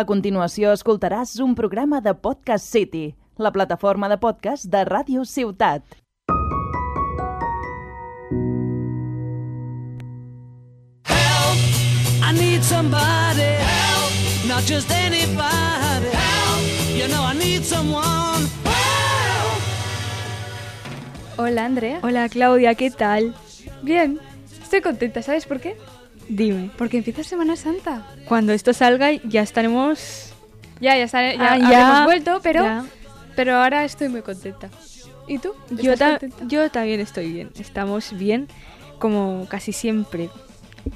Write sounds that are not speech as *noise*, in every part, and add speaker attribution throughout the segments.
Speaker 1: A continuació escoltaràs un programa de Podcast City, la plataforma de podcast de Ràdio Ciutat.
Speaker 2: Help! I need somebody. Help! Not just anybody. Help! You know I need someone. Help!
Speaker 3: Hola Andrea.
Speaker 4: Hola Claudia, ¿qué tal?
Speaker 3: Bien, estoy contenta, ¿sabes por qué?
Speaker 4: Dime,
Speaker 3: Porque empieza Semana Santa.
Speaker 4: cuando esto salga ya estaremos...
Speaker 3: Ya, ya, está, ya,
Speaker 4: Ah, ya.
Speaker 3: habremos vuelto, pero,
Speaker 4: Ya.
Speaker 3: pero ahora estoy muy contenta. ¿Y tú?
Speaker 4: Yo, ta-
Speaker 3: ¿Estás contenta?
Speaker 4: yo también estoy bien, estamos bien como casi siempre.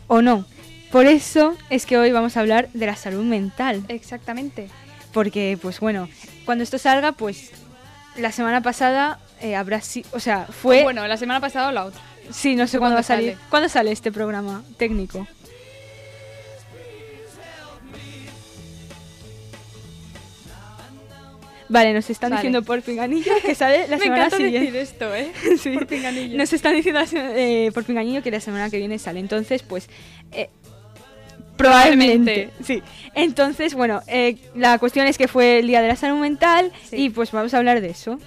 Speaker 4: ¿O no? Por eso es que hoy vamos a hablar de la salud mental.
Speaker 3: Exactamente.
Speaker 4: Porque, pues bueno, cuando esto salga, pues la semana pasada eh, habrá... si- o sea, fue...
Speaker 3: Oh, Bueno, la semana pasada o la otra.
Speaker 4: sí, no sé
Speaker 3: ¿cuándo
Speaker 4: cuándo va a salir.
Speaker 3: sale?
Speaker 4: ¿Cuándo sale este programa técnico? Vale, nos están
Speaker 3: Sale.
Speaker 4: diciendo por pinganillo que sale
Speaker 3: *laughs*
Speaker 4: la
Speaker 3: Me
Speaker 4: semana
Speaker 3: encanta
Speaker 4: siguiente.
Speaker 3: decir esto, *laughs* ¿eh?
Speaker 4: Sí.
Speaker 3: Por pinganillo.
Speaker 4: Nos están diciendo la sema- eh, por pinganillo que la semana que viene sale. Entonces, pues. eh,
Speaker 3: Probablemente.
Speaker 4: probablemente. Sí. Entonces, bueno, eh, la cuestión es que fue el día de la salud mental
Speaker 3: Sí.
Speaker 4: y pues vamos a hablar de eso.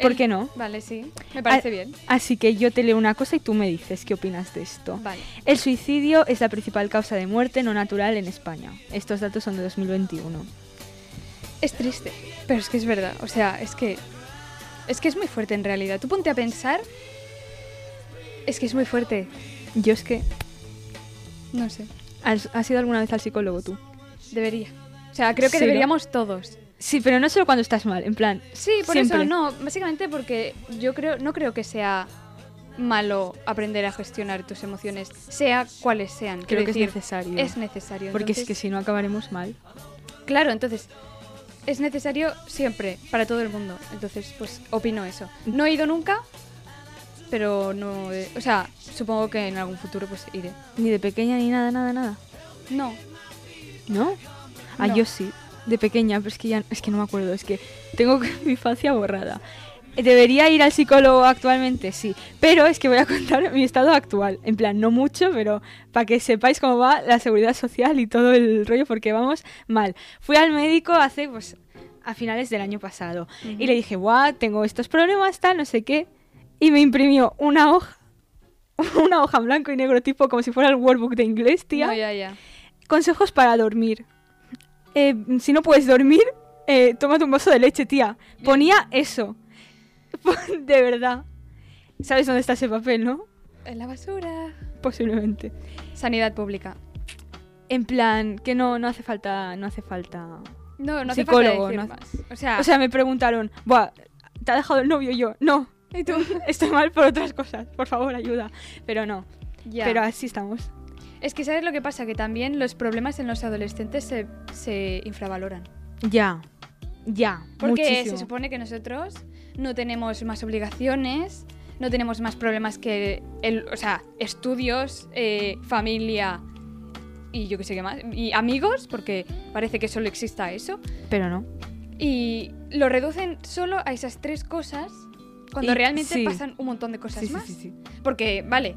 Speaker 4: ¿Por
Speaker 3: El-
Speaker 4: qué no?
Speaker 3: Eh, Vale, sí. Me parece
Speaker 4: Ah,
Speaker 3: bien.
Speaker 4: Así que yo te leo una cosa y tú me dices qué opinas de esto.
Speaker 3: Vale.
Speaker 4: El suicidio es la principal causa de muerte no natural en España. Estos datos son de 2021.
Speaker 3: Es triste, pero es que es verdad. O sea, es que. Es que es muy fuerte en realidad. Tú ponte a pensar. Es que es muy fuerte.
Speaker 4: Yo es que...
Speaker 3: No sé.
Speaker 4: ¿Has, has ido alguna vez al psicólogo tú?
Speaker 3: Debería. O sea, creo que
Speaker 4: Sí, ¿no?
Speaker 3: deberíamos todos.
Speaker 4: Sí, pero no solo cuando estás mal, en plan...
Speaker 3: Sí, por
Speaker 4: Siempre.
Speaker 3: eso no. Básicamente porque yo creo, no creo que sea malo aprender a gestionar tus emociones, sea cuales sean.
Speaker 4: Creo
Speaker 3: Quiero
Speaker 4: que es
Speaker 3: decir,
Speaker 4: necesario.
Speaker 3: Es necesario.
Speaker 4: Porque es que
Speaker 3: entonces-
Speaker 4: si no acabaremos mal.
Speaker 3: Claro, entonces es necesario siempre para todo el mundo. Entonces, pues opino eso. No he ido nunca, pero no, he- o sea, supongo que en algún futuro pues iré.
Speaker 4: Ni de pequeña ni nada, nada, nada.
Speaker 3: No.
Speaker 4: ¿No? Ah,
Speaker 3: No.
Speaker 4: yo sí. De pequeña, pero es que ya es que no me acuerdo. Es que tengo *laughs* mi infancia borrada. ¿Debería ir al psicólogo actualmente? Sí. Pero es que voy a contar *laughs* mi estado actual. En plan, no mucho, pero para que sepáis cómo va la seguridad social y todo el rollo, porque vamos mal. Fui al médico hace, pues, a finales del año pasado.
Speaker 3: Ujú.
Speaker 4: Y le dije, guau, tengo estos problemas, tal, no sé qué. Y me imprimió una hoja. *laughs* Una hoja en blanco y negro, tipo como si fuera el workbook de inglés, tía.
Speaker 3: No, ya, ya.
Speaker 4: Consejos para dormir. Eh, si no puedes dormir, eh, tómate un vaso de leche, tía. Ponía eso. *laughs* De verdad. ¿Sabes dónde está ese papel, no?
Speaker 3: En la basura.
Speaker 4: Posiblemente.
Speaker 3: Sanidad pública.
Speaker 4: En plan, que no, no hace falta. No hace falta.
Speaker 3: No, no hace
Speaker 4: Psicólogo,
Speaker 3: falta decir
Speaker 4: no
Speaker 3: más. O sea,
Speaker 4: O sea, me preguntaron, Buah, ¿te ha dejado el novio Y yo? No. *laughs*
Speaker 3: ¿y tú?
Speaker 4: Estoy mal por otras cosas. Por favor, ayuda. Pero no.
Speaker 3: Ya.
Speaker 4: Pero así estamos.
Speaker 3: Es que sabes lo que pasa, que también los problemas en los adolescentes se, se infravaloran.
Speaker 4: Ya. Ya.
Speaker 3: Porque se supone que nosotros no tenemos más obligaciones, no tenemos más problemas que el, o sea, estudios, eh, familia y yo qué sé qué más, y amigos, porque parece que solo exista eso,
Speaker 4: Pero no.
Speaker 3: y lo reducen solo a esas tres cosas cuando
Speaker 4: Y-
Speaker 3: realmente
Speaker 4: sí.
Speaker 3: pasan un montón de cosas
Speaker 4: Sí, sí,
Speaker 3: más.
Speaker 4: sí, sí.
Speaker 3: Porque, vale,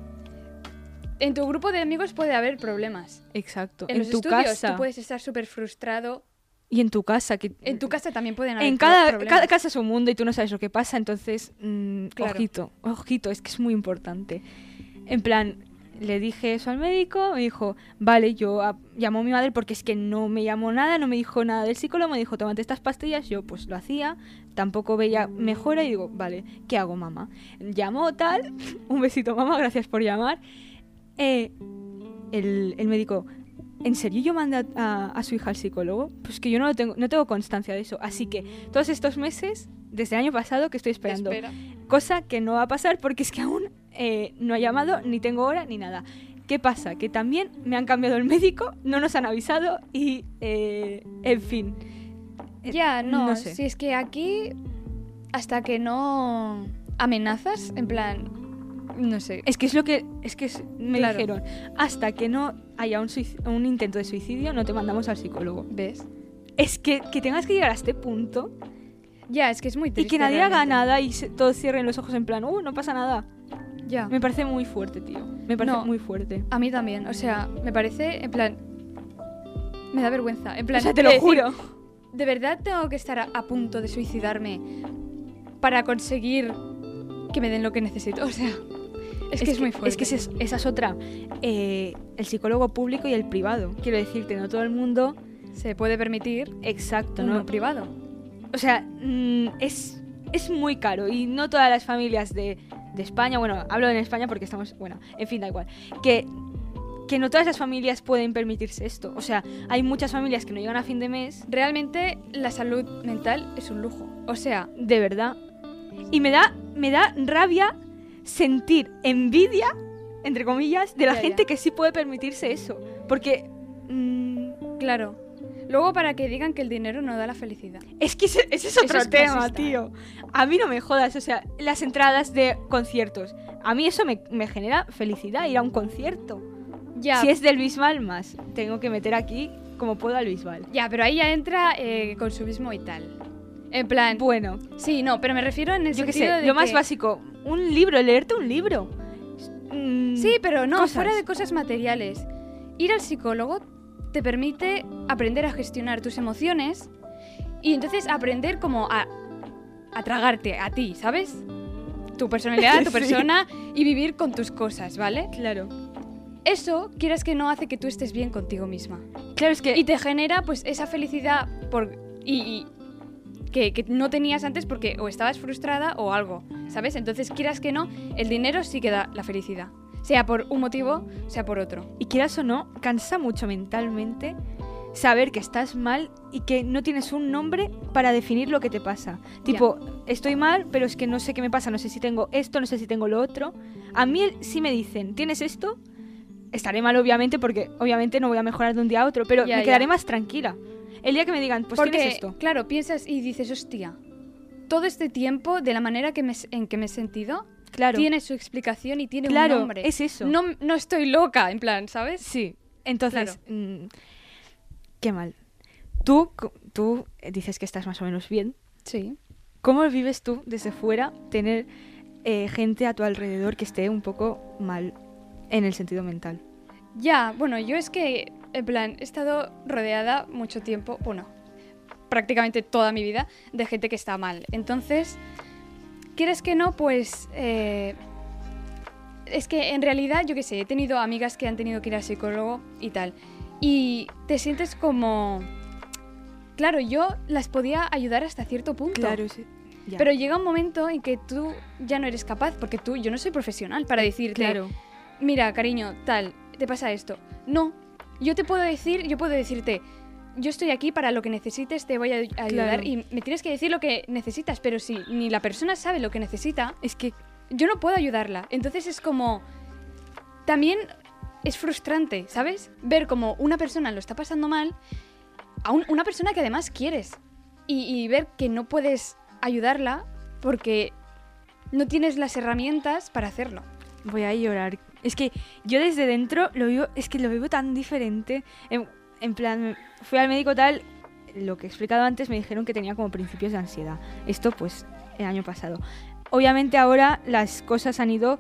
Speaker 3: en tu grupo de amigos puede haber problemas.
Speaker 4: Exacto.
Speaker 3: En,
Speaker 4: En,
Speaker 3: los
Speaker 4: tu
Speaker 3: estudios
Speaker 4: casa.
Speaker 3: tú puedes estar súper frustrado.
Speaker 4: Y en tu casa. Que...
Speaker 3: En tu casa también pueden haber
Speaker 4: En cada,
Speaker 3: problemas.
Speaker 4: cada casa es un mundo y tú no sabes lo que pasa, entonces, mm,
Speaker 3: Claro.
Speaker 4: ojito, ojito, es que es muy importante. En plan, le dije eso al médico, me dijo, vale, yo a- llamó a mi madre porque es que no me llamó nada, no me dijo nada del psicólogo, me dijo, tómate estas pastillas, yo pues lo hacía, tampoco veía mejora y digo, vale, ¿qué hago, mamá? Llamó tal, *laughs* un besito, mamá, gracias por llamar. Eh, el, el médico, ¿en serio yo mandé a, a- a su hija al psicólogo? Pues que yo no, lo tengo, no tengo constancia de eso. Así que todos estos meses, desde el año pasado, que estoy esperando.
Speaker 3: Espera.
Speaker 4: Cosa que no va a pasar porque es que aún eh, no ha llamado, ni tengo hora, ni nada. ¿Qué pasa? Que también me han cambiado el médico, no nos han avisado y, eh, en fin. Eh,
Speaker 3: Ya, no,
Speaker 4: no sé.
Speaker 3: si es que aquí hasta que no amenazas, en plan, no sé.
Speaker 4: Es que es lo que es que es- me
Speaker 3: Claro.
Speaker 4: dijeron, hasta que no haya un, suic- un intento de suicidio no te mandamos al psicólogo.
Speaker 3: ¿Ves?
Speaker 4: Es que, que tengas que llegar a este punto
Speaker 3: Ya, es que es muy
Speaker 4: y
Speaker 3: triste.
Speaker 4: que nadie haga
Speaker 3: realmente.
Speaker 4: nada y se- todos cierren los ojos en plan, uh, no pasa nada.
Speaker 3: Ya.
Speaker 4: Me parece muy fuerte, tío. Me parece
Speaker 3: No.
Speaker 4: muy fuerte.
Speaker 3: A mí también, o sea, me parece, en plan, Me da vergüenza. En plan,
Speaker 4: o sea, te lo
Speaker 3: decir,
Speaker 4: juro.
Speaker 3: ¿De verdad tengo que estar a, a punto de suicidarme para conseguir que me den lo que necesito? O sea, es, que, es muy fuerte.
Speaker 4: Es que esa es, esa es otra. Eh, el psicólogo público y el privado. Quiero decirte, no todo el mundo.
Speaker 3: se puede permitir
Speaker 4: Exacto,
Speaker 3: uno
Speaker 4: ¿no?
Speaker 3: privado.
Speaker 4: O sea, mm, es, es muy caro y no todas las familias de, de España, bueno, hablo en España porque estamos, bueno, en fin, da igual, que, que no todas las familias pueden permitirse esto. O sea, hay muchas familias que no llegan a fin de mes,
Speaker 3: Realmente la salud mental es un lujo. O sea,
Speaker 4: de verdad. Y me da, me da rabia sentir envidia, entre comillas, de la
Speaker 3: Ya,
Speaker 4: gente
Speaker 3: ya.
Speaker 4: que sí puede permitirse eso. Porque... mm,
Speaker 3: claro. Luego para que digan que el dinero no da la felicidad.
Speaker 4: Es que ese, ese es otro
Speaker 3: es
Speaker 4: tema,
Speaker 3: clasista.
Speaker 4: tío. A mí no me jodas, o sea, las entradas de conciertos. A mí eso me, me genera felicidad, ir a un concierto.
Speaker 3: Ya,
Speaker 4: Si es del Bisbal más, tengo que meter aquí como puedo al Bisbal.
Speaker 3: ya pero ahí ya entra eh, consumismo y tal. En plan,
Speaker 4: Bueno,
Speaker 3: sí, no, pero me refiero en el
Speaker 4: yo qué
Speaker 3: sentido
Speaker 4: sé,
Speaker 3: de
Speaker 4: lo más
Speaker 3: que-
Speaker 4: básico, un libro, leerte un libro. Mm,
Speaker 3: Sí, pero no,
Speaker 4: cosas.
Speaker 3: fuera de cosas materiales. Ir al psicólogo te permite aprender a gestionar tus emociones y entonces aprender como a, a tragarte a ti, ¿sabes? Tu personalidad, tu
Speaker 4: *laughs* Sí.
Speaker 3: persona y vivir con tus cosas, ¿vale?
Speaker 4: Claro.
Speaker 3: Eso, quieras que no, hace que tú estés bien contigo misma.
Speaker 4: Claro, es que...
Speaker 3: Y te genera pues esa felicidad por, y, y que, que no tenías antes porque o estabas frustrada o algo, ¿sabes? Entonces, quieras que no, el dinero sí que da la felicidad. Sea por un motivo, sea por otro.
Speaker 4: Y quieras o no, cansa mucho mentalmente saber que estás mal y que no tienes un nombre para definir lo que te pasa. Tipo, estoy mal, pero es que no sé qué me pasa, no sé si tengo esto, no sé si tengo lo otro. A mí el- sí me dicen, ¿tienes esto? Estaré mal, obviamente, porque obviamente no voy a mejorar de un día a otro, pero
Speaker 3: Ya,
Speaker 4: me quedaré
Speaker 3: ya.
Speaker 4: más tranquila. El día que me digan, pues
Speaker 3: porque,
Speaker 4: tienes esto.
Speaker 3: claro, piensas y dices, hostia, todo este tiempo, de la manera que me s- en que me he sentido,
Speaker 4: Claro.
Speaker 3: tiene su explicación y tiene un
Speaker 4: claro,
Speaker 3: nombre.
Speaker 4: es eso.
Speaker 3: No, no estoy loca, en plan, ¿sabes?
Speaker 4: Sí, entonces,
Speaker 3: Claro.
Speaker 4: mm, qué mal. Tú, co- tú eh, dices que estás más o menos bien,
Speaker 3: Sí.
Speaker 4: ¿Cómo vives tú desde fuera tener eh, gente a tu alrededor que esté un poco mal en el sentido mental?
Speaker 3: Ya, bueno, yo es que, en plan, he estado rodeada mucho tiempo, bueno, prácticamente toda mi vida, de gente que está mal. Entonces, quieres que no, pues... eh, es que en realidad, yo qué sé, he tenido amigas que han tenido que ir al psicólogo y tal. Y te sientes como... Claro, yo las podía ayudar hasta cierto punto.
Speaker 4: sí.
Speaker 3: Pero llega un momento en que tú ya no eres capaz, porque tú, yo no soy profesional para decirte,
Speaker 4: claro,
Speaker 3: mira, cariño, tal, te pasa esto. No, yo te puedo decir, yo puedo decirte, yo estoy aquí para lo que necesites, te voy a ay- a ayudar
Speaker 4: Claro.
Speaker 3: y me tienes que decir lo que necesitas, pero si ni la persona sabe lo que necesita,
Speaker 4: es que
Speaker 3: yo no puedo ayudarla. Entonces es como, también es frustrante, ¿sabes? Ver como una persona lo está pasando mal, a un- una persona que además quieres, y, y ver que no puedes ayudarla porque no tienes las herramientas para hacerlo.
Speaker 4: voy a llorar. Es que yo desde dentro lo vivo, es que lo vivo tan diferente. En, en plan, fui al médico tal, lo que he explicado antes me dijeron que tenía como principios de ansiedad. Esto pues el año pasado. Obviamente ahora las cosas han ido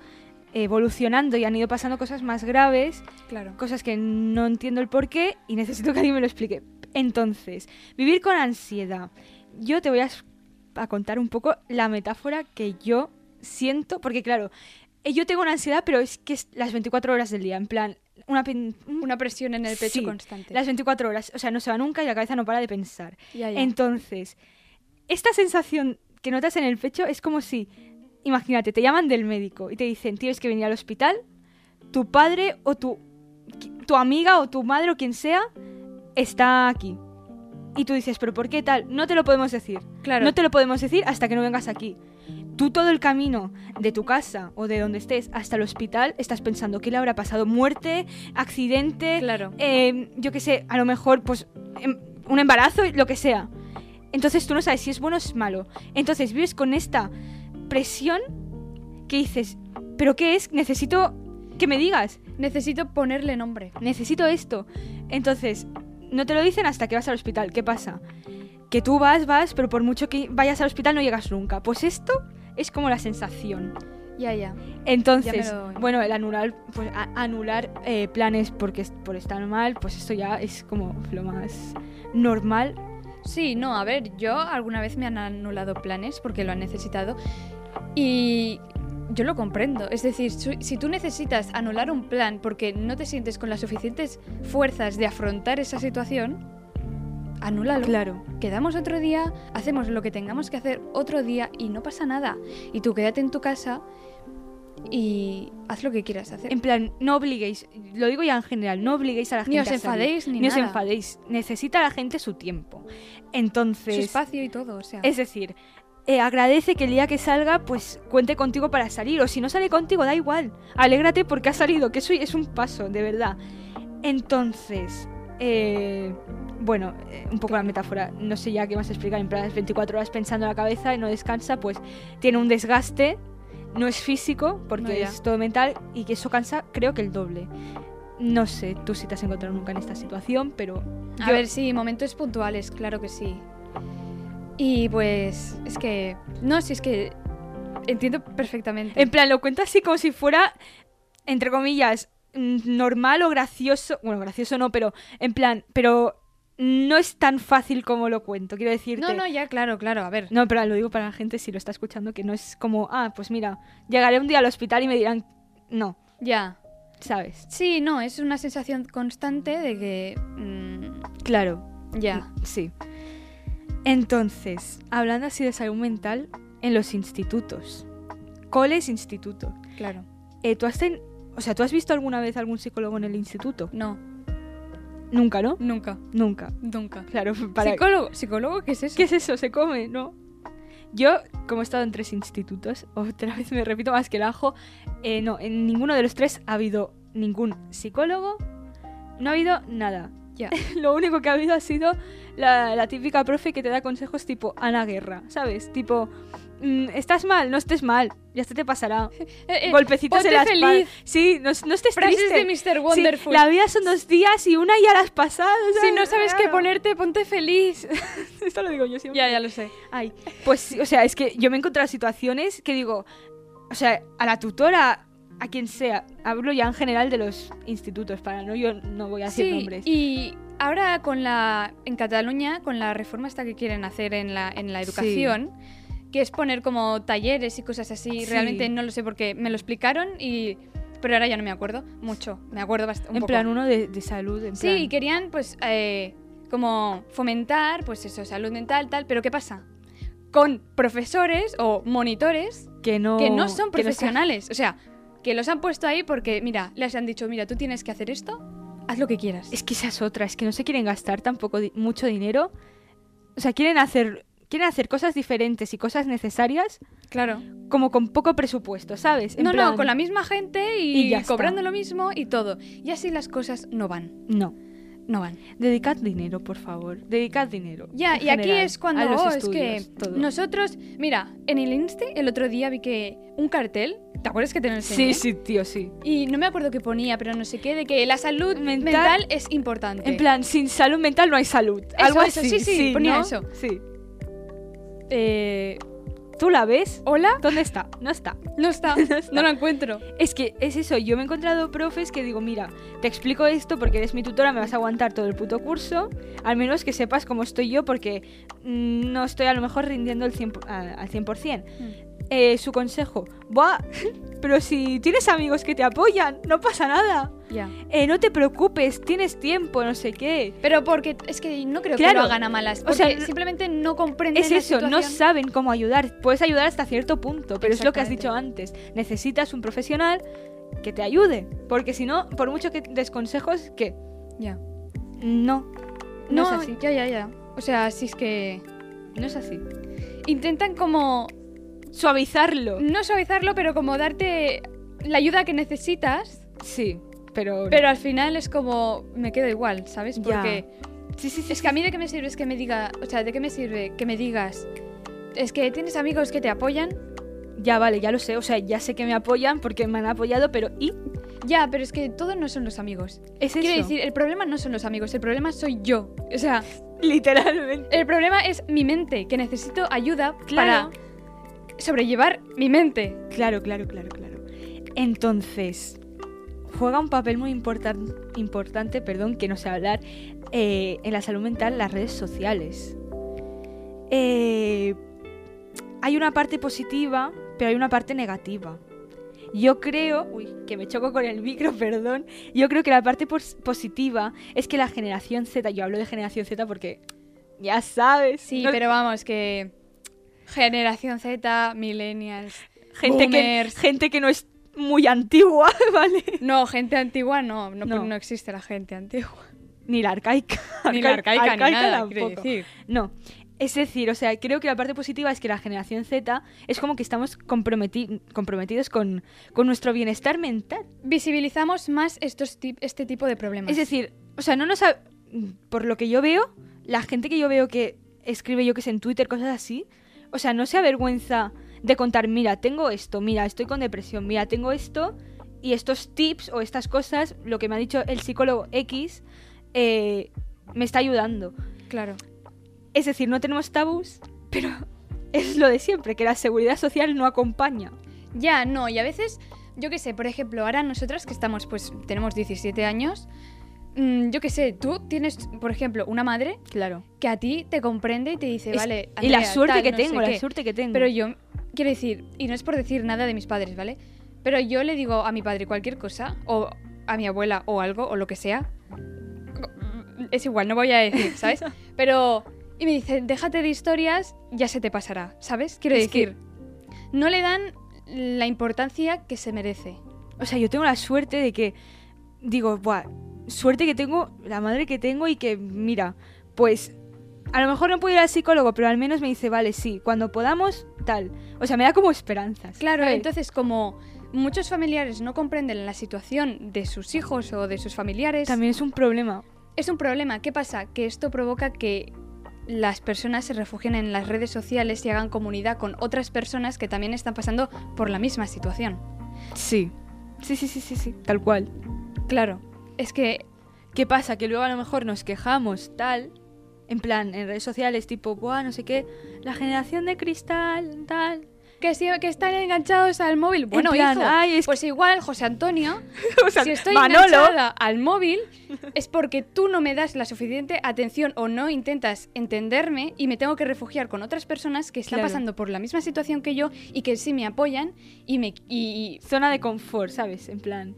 Speaker 4: evolucionando y han ido pasando cosas más graves
Speaker 3: Claro.
Speaker 4: cosas que no entiendo el porqué y necesito que alguien me lo explique. Entonces, vivir con ansiedad. Yo te voy a, s- a contar un poco la metáfora que yo siento, porque claro, eh, yo tengo una ansiedad, pero es que es las 24 horas del día, en plan, una, pen- un-
Speaker 3: Una presión en el pecho
Speaker 4: Sí,
Speaker 3: constante.
Speaker 4: las 24 horas, o sea, no se va nunca y la cabeza no para de pensar.
Speaker 3: Ya, ya.
Speaker 4: Entonces, esta sensación que notas en el pecho es como si, imagínate, te llaman del médico y te dicen, tienes que venir al hospital, tu padre o tu, qui- tu amiga o tu madre o quien sea está aquí. Y tú dices, pero ¿por qué tal? No te lo podemos decir.
Speaker 3: claro.
Speaker 4: No te lo podemos decir hasta que no vengas aquí. Tú todo el camino de tu casa o de donde estés hasta el hospital estás pensando que le habrá pasado muerte, accidente,
Speaker 3: Claro.
Speaker 4: eh, yo qué sé, a lo mejor, pues, em- un embarazo, lo que sea. Entonces tú no sabes si es bueno o es malo. Entonces vives con esta presión que dices, ¿pero qué es? Necesito que me digas,
Speaker 3: Necesito ponerle nombre.
Speaker 4: necesito esto. Entonces, no te lo dicen hasta que vas al hospital. ¿Qué pasa? Que tú vas, vas, pero por mucho que vayas al hospital no llegas nunca. Pues esto es como la sensación.
Speaker 3: Ya, ya.
Speaker 4: Entonces,
Speaker 3: Ya me lo-
Speaker 4: bueno, el anular, pues, a- anular eh, planes porque es- por estar mal, pues esto ya es como lo más normal.
Speaker 3: Sí, no, a ver, yo alguna vez me han anulado planes porque lo han necesitado y yo lo comprendo. Es decir, su- si tú necesitas anular un plan porque no te sientes con las suficientes fuerzas de afrontar esa situación, anúlalo.
Speaker 4: Claro.
Speaker 3: Quedamos otro día, hacemos lo que tengamos que hacer otro día y no pasa nada. Y tú quédate en tu casa y haz lo que quieras hacer.
Speaker 4: En plan, no obliguéis, lo digo ya en general, no obliguéis a la
Speaker 3: Ni
Speaker 4: gente
Speaker 3: os
Speaker 4: a salir,
Speaker 3: enfadéis ni
Speaker 4: os
Speaker 3: nada.
Speaker 4: enfadéis. Necesita la gente su tiempo. Entonces,
Speaker 3: Su espacio y todo, o sea.
Speaker 4: Es decir, eh, agradece que el día que salga, pues cuente contigo para salir. O si no sale contigo, da igual. Alégrate porque ha salido, que eso es un paso, de verdad. Entonces, eh, bueno, eh, un poco la metáfora. No sé ya qué más explicar. En plan, las 24 horas pensando en la cabeza y no descansa, pues tiene un desgaste. No es físico,
Speaker 3: No,
Speaker 4: porque
Speaker 3: ya.
Speaker 4: es todo mental y que eso cansa, creo que el doble. No sé, tú si te has encontrado nunca en esta situación, pero
Speaker 3: A
Speaker 4: Yo-
Speaker 3: ver, sí, momentos puntuales, claro que sí. Y pues, es que. No, si es que. Entiendo perfectamente.
Speaker 4: En plan, lo cuento así como si fuera, entre comillas, mm, normal o gracioso. Bueno, gracioso no, pero en plan, pero no es tan fácil como lo cuento. Quiero decirte.
Speaker 3: no, no, ya, claro, claro, a ver.
Speaker 4: No, pero lo digo para la gente si lo está escuchando, que no es como, ah, pues mira, llegaré un día al hospital y me dirán, no,
Speaker 3: Ya.
Speaker 4: ¿sabes?
Speaker 3: Sí, no, es una sensación constante de que. mm,
Speaker 4: Claro,
Speaker 3: ya.
Speaker 4: sí. Entonces, hablando así de salud mental, en los institutos, coles, institutos.
Speaker 3: Claro.
Speaker 4: Eh, ¿tú, has ten- o sea, ¿Tú has visto alguna vez algún psicólogo en el instituto?
Speaker 3: No,
Speaker 4: Nunca, ¿no?
Speaker 3: nunca,
Speaker 4: Nunca.
Speaker 3: nunca.
Speaker 4: Claro, *laughs* para...
Speaker 3: ¿Psicólogo? ¿Psicólogo? ¿Qué es eso?
Speaker 4: ¿Qué es eso? Se come, ¿no? Yo, como he estado en tres institutos, *laughs* otra vez me repito más que el ajo, eh, no, en ninguno de los tres ha habido ningún psicólogo, no ha habido nada. *laughs*
Speaker 3: Ya.
Speaker 4: Lo único que ha habido ha sido la, la típica profe que te da consejos tipo Ana Guerra, ¿sabes? Tipo, mm, estás mal, no estés mal, ya se te *laughs* pasará.
Speaker 3: Eh, eh,
Speaker 4: Golpecitos
Speaker 3: ponte
Speaker 4: en la espalda.
Speaker 3: feliz.
Speaker 4: Sí, no, no estés
Speaker 3: Frases
Speaker 4: triste.
Speaker 3: de Mr.
Speaker 4: Sí,
Speaker 3: Wonderful.
Speaker 4: la vida son dos días y una ya la has pasado. Ah.
Speaker 3: Si no sabes qué
Speaker 4: Claro.
Speaker 3: ponerte, ponte feliz.
Speaker 4: *laughs* Esto lo digo yo siempre.
Speaker 3: ya, ya lo sé.
Speaker 4: Ay, pues sí, o sea, es que yo me he encontrado situaciones que digo, o sea, a la tutora, a quien sea, hablo ya en general de los institutos, para no, yo no voy a decir
Speaker 3: Sí,
Speaker 4: nombres.
Speaker 3: Y ahora con la en Cataluña, con la reforma esta que quieren hacer en la, en la
Speaker 4: Sí.
Speaker 3: educación, que es poner como talleres y cosas así,
Speaker 4: Sí.
Speaker 3: realmente no lo sé porque me lo explicaron y pero ahora ya no me acuerdo mucho, me acuerdo bastante.
Speaker 4: en plan, uno de, de salud, en
Speaker 3: Sí,
Speaker 4: plan.
Speaker 3: y querían pues eh, como fomentar pues eso, salud mental, tal, pero ¿qué pasa? Con profesores o monitores
Speaker 4: que no,
Speaker 3: que no son
Speaker 4: que están-
Speaker 3: profesionales. O sea, que los han puesto ahí porque, mira, les han dicho, mira, tú tienes que hacer esto, haz lo que quieras.
Speaker 4: es que esa es otra, es que no se quieren gastar tampoco di- mucho dinero. O sea, quieren hacer, quieren hacer cosas diferentes y cosas necesarias
Speaker 3: Claro.
Speaker 4: como con poco presupuesto, ¿sabes? En
Speaker 3: No,
Speaker 4: plan,
Speaker 3: no, con la misma gente y,
Speaker 4: Y ya está.
Speaker 3: cobrando lo mismo y todo. Y así las cosas no van,
Speaker 4: No,
Speaker 3: no van.
Speaker 4: dedicad dinero, por favor, dedicad dinero.
Speaker 3: Ya,
Speaker 4: en
Speaker 3: y aquí
Speaker 4: general,
Speaker 3: es cuando
Speaker 4: a los
Speaker 3: oh, es que
Speaker 4: estudios, todo.
Speaker 3: nosotros, mira, en el Inste el otro día vi que un cartel, ¿te acuerdas que te lo enseñé?
Speaker 4: Sí, sí, tío, sí.
Speaker 3: Y no me acuerdo qué ponía, pero no sé qué, de que la salud
Speaker 4: Mental-
Speaker 3: mental, es importante.
Speaker 4: En plan, sin salud mental no hay salud. Algo
Speaker 3: eso,
Speaker 4: así.
Speaker 3: sí, sí, ponía
Speaker 4: ¿no?
Speaker 3: eso.
Speaker 4: Sí. Eh, ¿Tú la ves?
Speaker 3: ¿Hola?
Speaker 4: ¿Dónde está? *laughs* No está.
Speaker 3: No está, no lo encuentro.
Speaker 4: Es que es eso, yo me he encontrado profes que digo, mira, te explico esto porque eres mi tutora, me vas a aguantar todo el puto curso, al menos que sepas cómo estoy yo porque mm, no estoy a lo mejor rindiendo el 100 por- a- al 100%. Eh, su consejo, ¡buah! *laughs* Pero si tienes amigos que te apoyan, no pasa nada.
Speaker 3: Ya.
Speaker 4: Eh, no te preocupes, tienes tiempo, no sé qué.
Speaker 3: Pero porque es que no creo que
Speaker 4: Claro.
Speaker 3: lo hagan a malas.
Speaker 4: O sea,
Speaker 3: porque
Speaker 4: no-
Speaker 3: simplemente no comprenden
Speaker 4: Es
Speaker 3: la
Speaker 4: eso, no
Speaker 3: situación.
Speaker 4: saben cómo ayudar. Puedes ayudar hasta cierto punto, pero es lo que has
Speaker 3: Exactamente.
Speaker 4: dicho antes. Necesitas un profesional que te ayude, porque si no, por mucho que des consejos, que
Speaker 3: Ya.
Speaker 4: no, no,
Speaker 3: No,
Speaker 4: es así.
Speaker 3: ya, ya, ya. O sea, si es que
Speaker 4: No es así.
Speaker 3: intentan como
Speaker 4: Suavizarlo.
Speaker 3: no suavizarlo, pero como darte la ayuda que necesitas,
Speaker 4: Sí, pero...
Speaker 3: pero al final es como me quedo igual, ¿sabes?
Speaker 4: Ya.
Speaker 3: Porque
Speaker 4: sí, sí, sí.
Speaker 3: es que a mí de qué me sirve es que me diga, o sea, de qué me sirve que me digas es que tienes amigos que te apoyan.
Speaker 4: Ya vale, ya lo sé. O sea, ya sé que me apoyan porque me han apoyado, pero ¿y? *laughs*
Speaker 3: Ya, pero es que todos no son los amigos.
Speaker 4: Es eso.
Speaker 3: Quiero decir, el problema no son los amigos, el problema soy yo. O sea,
Speaker 4: literalmente.
Speaker 3: El problema es mi mente, que necesito ayuda
Speaker 4: Claro.
Speaker 3: para sobrellevar mi mente.
Speaker 4: Claro, claro, claro, claro. Entonces, juega un papel muy importan- importante, perdón, que no sé hablar, eh, en la salud mental las redes sociales. Eh, hay una parte positiva, pero hay una parte negativa. Yo creo, uy, que me choco con el micro, *laughs* perdón. Yo creo que la parte pos- positiva es que la generación Z, yo hablo de generación Z porque ya sabes,
Speaker 3: Sí,
Speaker 4: no-
Speaker 3: pero vamos, que generación Z, millennials.
Speaker 4: gente que,
Speaker 3: boomers.
Speaker 4: gente que no es muy antigua, *laughs* ¿vale?
Speaker 3: No, gente antigua no, no,
Speaker 4: No.
Speaker 3: porque no existe la gente
Speaker 4: *laughs*
Speaker 3: antigua.
Speaker 4: Ni la arcaica.
Speaker 3: Ni la arcaica, ni nada, quiero
Speaker 4: tampoco.
Speaker 3: decir.
Speaker 4: No. Es decir, o sea, creo que la parte positiva es que la generación Z es como que estamos comprometi- comprometidos con, con nuestro bienestar mental.
Speaker 3: Visibilizamos más estos tip- este tipo de problemas.
Speaker 4: Es decir, o sea, no nos... ha- Por lo que yo veo, la gente que yo veo que escribe, yo que sé, en Twitter, cosas así, o sea, no se avergüenza de contar, mira, tengo esto, mira, estoy con depresión, mira, tengo esto, y estos tips o estas cosas, lo que me ha dicho el psicólogo X, eh, me está ayudando.
Speaker 3: claro.
Speaker 4: Es decir, no tenemos tabús, pero es lo de siempre, que la seguridad social no acompaña.
Speaker 3: Ya, no, y a veces, yo qué sé, por ejemplo, ahora nosotras que estamos, pues tenemos 17 años, mm, yo qué sé, tú tienes, por ejemplo, una madre
Speaker 4: Claro.
Speaker 3: que a ti te comprende y te dice, vale,
Speaker 4: y la
Speaker 3: Andrea,
Speaker 4: suerte
Speaker 3: tal,
Speaker 4: que
Speaker 3: no sé
Speaker 4: tengo, la
Speaker 3: qué".
Speaker 4: suerte que tengo.
Speaker 3: Pero yo, quiero decir, y no es por decir nada de mis padres, ¿vale? Pero yo le digo a mi padre cualquier cosa, o a mi abuela, o algo, o lo que sea. Es igual, no voy a decir,
Speaker 4: *laughs*
Speaker 3: ¿sabes? Pero. Y me dicen, déjate de historias, ya se te pasará, ¿sabes? Quiero
Speaker 4: Es que-
Speaker 3: decir, no le dan la importancia que se merece.
Speaker 4: O sea, yo tengo la suerte de que, digo, buah, suerte que tengo, la madre que tengo y que, mira, pues a lo mejor no puedo ir al psicólogo, pero al menos me dice, vale, sí, cuando podamos, tal. O sea, me da como esperanzas.
Speaker 3: Claro,
Speaker 4: ¿sabes?
Speaker 3: entonces, como muchos familiares no comprenden la situación de sus hijos o de sus familiares.
Speaker 4: También es un problema.
Speaker 3: Es un problema. ¿Qué pasa? Que esto provoca que las personas se refugien en las redes sociales y hagan comunidad con otras personas que también están pasando por la misma situación.
Speaker 4: Sí. Sí, sí, sí, sí, sí, tal cual.
Speaker 3: Claro, es que
Speaker 4: ¿Qué pasa? Que luego a lo mejor nos quejamos, tal, en plan, en redes sociales, tipo, buah, no sé qué, la generación de cristal, tal. *laughs*
Speaker 3: que, si- que están enganchados al móvil. Bueno,
Speaker 4: plan,
Speaker 3: hijo,
Speaker 4: ay, es
Speaker 3: pues igual José Antonio,
Speaker 4: *laughs* O sea,
Speaker 3: si estoy
Speaker 4: Manolo.
Speaker 3: enganchada al móvil es porque tú no me das la suficiente atención o no intentas entenderme y me tengo que refugiar con otras personas que están
Speaker 4: Claro.
Speaker 3: pasando por la misma situación que yo y que sí me apoyan y me y- y
Speaker 4: Zona de confort, ¿sabes? En plan,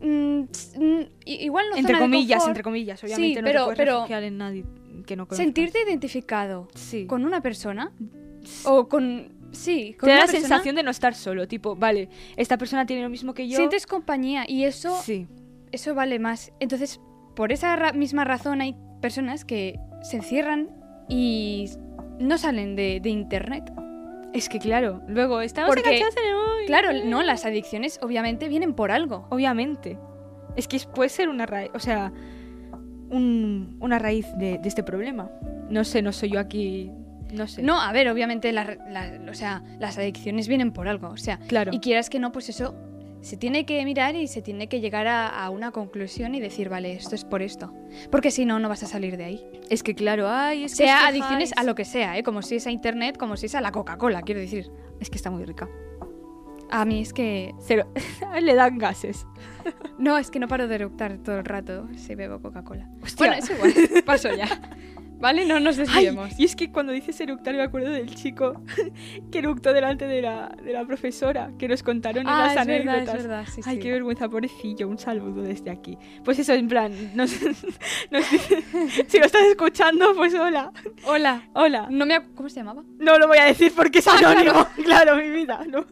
Speaker 3: Mm, s- mm, i- igual no
Speaker 4: entre
Speaker 3: zona de
Speaker 4: comillas,
Speaker 3: confort,
Speaker 4: entre comillas, obviamente no
Speaker 3: pero-
Speaker 4: te puedes
Speaker 3: pero
Speaker 4: refugiar en nadie que no conozcas.
Speaker 3: sentirte identificado
Speaker 4: sí.
Speaker 3: con una persona
Speaker 4: Sí.
Speaker 3: o con sí con
Speaker 4: te da
Speaker 3: una
Speaker 4: la
Speaker 3: persona,
Speaker 4: sensación de no estar solo, tipo, vale, esta persona tiene lo mismo que yo.
Speaker 3: sientes compañía y eso
Speaker 4: Sí.
Speaker 3: eso vale más entonces por esa ra- misma razón hay personas que se encierran y no salen de, de internet
Speaker 4: Es que claro, luego estamos
Speaker 3: Porque-
Speaker 4: enganchados en el móvil.
Speaker 3: claro no las adicciones obviamente vienen por algo
Speaker 4: Obviamente. Es que es- puede ser una raíz, o sea, un- una raíz de, de este problema. No sé, no soy yo aquí, no sé.
Speaker 3: no a ver obviamente la- la- o sea, las adicciones vienen por algo o sea
Speaker 4: claro.
Speaker 3: Y quieras que no, pues eso se tiene que mirar y se tiene que llegar a, a una conclusión y decir, vale, esto es por esto. Porque si no, no vas a salir de ahí.
Speaker 4: Es que claro, ay, es que os
Speaker 3: Sea
Speaker 4: quejáis.
Speaker 3: adicciones a lo que sea, ¿eh? Como si es a internet, como si es a la Coca-Cola, quiero decir.
Speaker 4: Es que está muy rica.
Speaker 3: A mí es que...
Speaker 4: Cero. *laughs* Le dan gases.
Speaker 3: No, es que no paro de eructar todo el rato si bebo Coca-Cola.
Speaker 4: Hostia.
Speaker 3: Bueno, es igual.
Speaker 4: *laughs*
Speaker 3: Paso ya. ¿Vale? No nos
Speaker 4: Ay,
Speaker 3: desviemos.
Speaker 4: y es que cuando dices eructar me acuerdo del chico *laughs* que eructó delante de la, de la profesora que nos contaron en
Speaker 3: Ah,
Speaker 4: las
Speaker 3: es verdad,
Speaker 4: anécdotas.
Speaker 3: es verdad, sí,
Speaker 4: Ay,
Speaker 3: sí.
Speaker 4: qué vergüenza, pobrecillo, un saludo desde aquí. Pues eso, en plan, nos, *laughs* nos dice- si lo estás escuchando, pues hola,
Speaker 3: Hola.
Speaker 4: hola.
Speaker 3: No me... ac- ¿Cómo se llamaba?
Speaker 4: No lo voy a decir porque es
Speaker 3: Ah, claro.
Speaker 4: anónimo, *laughs* claro, mi vida, no.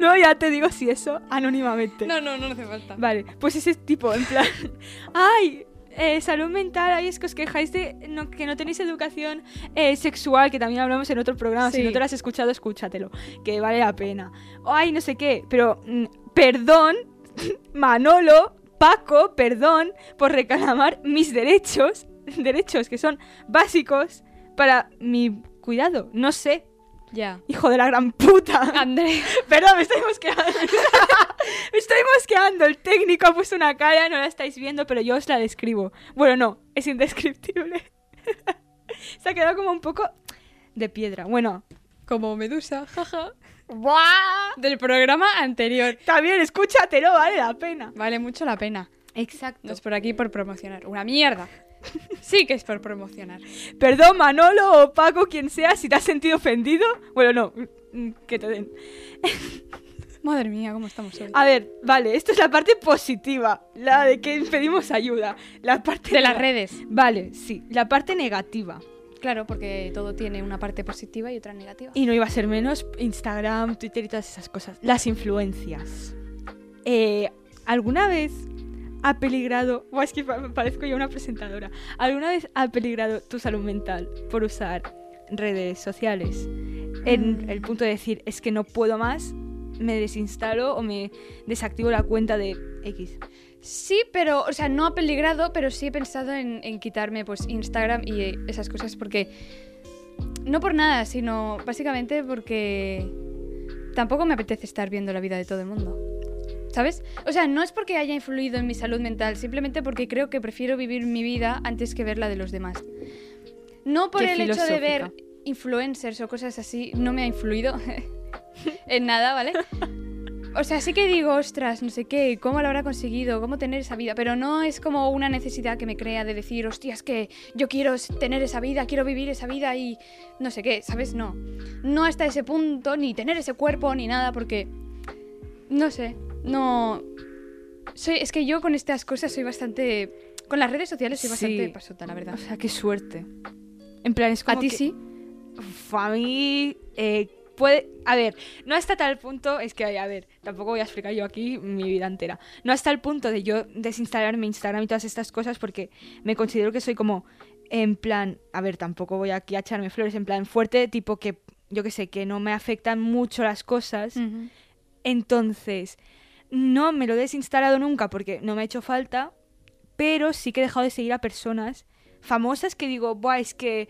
Speaker 4: No, ya te digo si eso, anónimamente.
Speaker 3: no, no, no hace falta.
Speaker 4: Vale, pues ese tipo, en plan, *laughs* ay, eh, salud mental, ay, es que os quejáis de no- que no tenéis educación eh, sexual, que también hablamos en otro programa, si
Speaker 3: Sí.
Speaker 4: no te lo has escuchado, escúchatelo, que vale la pena. O, ay, no sé qué, pero, mm, perdón, *laughs* Manolo, Paco, perdón, por reclamar mis derechos, *laughs* derechos que son básicos para mi cuidado, no sé,
Speaker 3: Ya.
Speaker 4: hijo de la gran puta.
Speaker 3: Andrea.
Speaker 4: Perdón, me estoy mosqueando. *laughs* me estoy mosqueando. El técnico ha puesto una cara, no la estáis viendo, pero yo os la describo. Bueno, no, es *laughs* indescriptible. Se ha quedado como un poco de piedra. Bueno,
Speaker 3: como Medusa, *laughs* jaja, del programa anterior.
Speaker 4: También escúchatelo, vale la pena.
Speaker 3: Vale mucho la pena. No
Speaker 4: Exacto.
Speaker 3: es por aquí por promocionar. Una mierda. *laughs* Sí que es por promocionar.
Speaker 4: Perdón, Manolo o Paco, quien sea, si te has sentido ofendido. Bueno, no, mm, que te den.
Speaker 3: Madre mía, cómo estamos hoy.
Speaker 4: A ver, vale, esto es la parte positiva, la de que pedimos ayuda. La parte
Speaker 3: De las
Speaker 4: nega-
Speaker 3: redes.
Speaker 4: Vale, sí, la parte negativa.
Speaker 3: Claro, porque todo tiene una parte positiva y otra negativa.
Speaker 4: Y no iba a ser menos Instagram, Twitter y todas esas cosas. Las influencias. Eh, ¿Alguna vez ha peligrado... Buah, es que pa- parezco ya una presentadora. ¿Alguna vez ha peligrado tu salud mental por usar redes sociales? En
Speaker 3: Mm.
Speaker 4: el punto de decir, es que no puedo más, me desinstalo o me desactivo la cuenta de X.
Speaker 3: Sí, pero, o sea, no ha peligrado, pero sí he pensado en, en quitarme pues Instagram y eh, esas cosas porque no por nada, sino básicamente porque tampoco me apetece estar viendo la vida de todo el mundo. ¿Sabes? O sea, no es porque haya influido en mi salud mental, simplemente porque creo que prefiero vivir mi vida antes que ver la de los demás. No por
Speaker 4: Qué
Speaker 3: el hecho de ver
Speaker 4: filosófica.
Speaker 3: influencers o cosas así, no me ha influido *laughs* en nada,
Speaker 4: *laughs*
Speaker 3: ¿vale? O sea, sí que digo, ostras, no sé qué, cómo lo habrá conseguido, cómo tener esa vida, pero no es como una necesidad que me crea de decir, hostias, que yo quiero s- tener esa vida, quiero vivir esa vida y no sé qué, ¿sabes? No. No hasta ese punto, ni tener ese cuerpo, ni nada, porque, no sé, no... Soy, es que yo con estas cosas soy bastante... Con las redes sociales soy bastante
Speaker 4: Sí.
Speaker 3: pasota, la verdad.
Speaker 4: O sea, qué suerte. En plan, es como
Speaker 3: ¿A ti
Speaker 4: que-
Speaker 3: sí?
Speaker 4: Uf, a mí. eh, puede. A ver, no hasta tal punto. Es que, a ver, tampoco voy a explicar yo aquí mi vida entera. No hasta el punto de yo desinstalar mi Instagram y todas estas cosas porque me considero que soy como. En plan. A ver, tampoco voy aquí a echarme flores. En plan fuerte, tipo que. Yo que sé, que no me afectan mucho las cosas.
Speaker 3: Ujú.
Speaker 4: Entonces, no me lo he desinstalado nunca porque no me ha hecho falta, pero sí que he dejado de seguir a personas famosas que digo, Buah, es que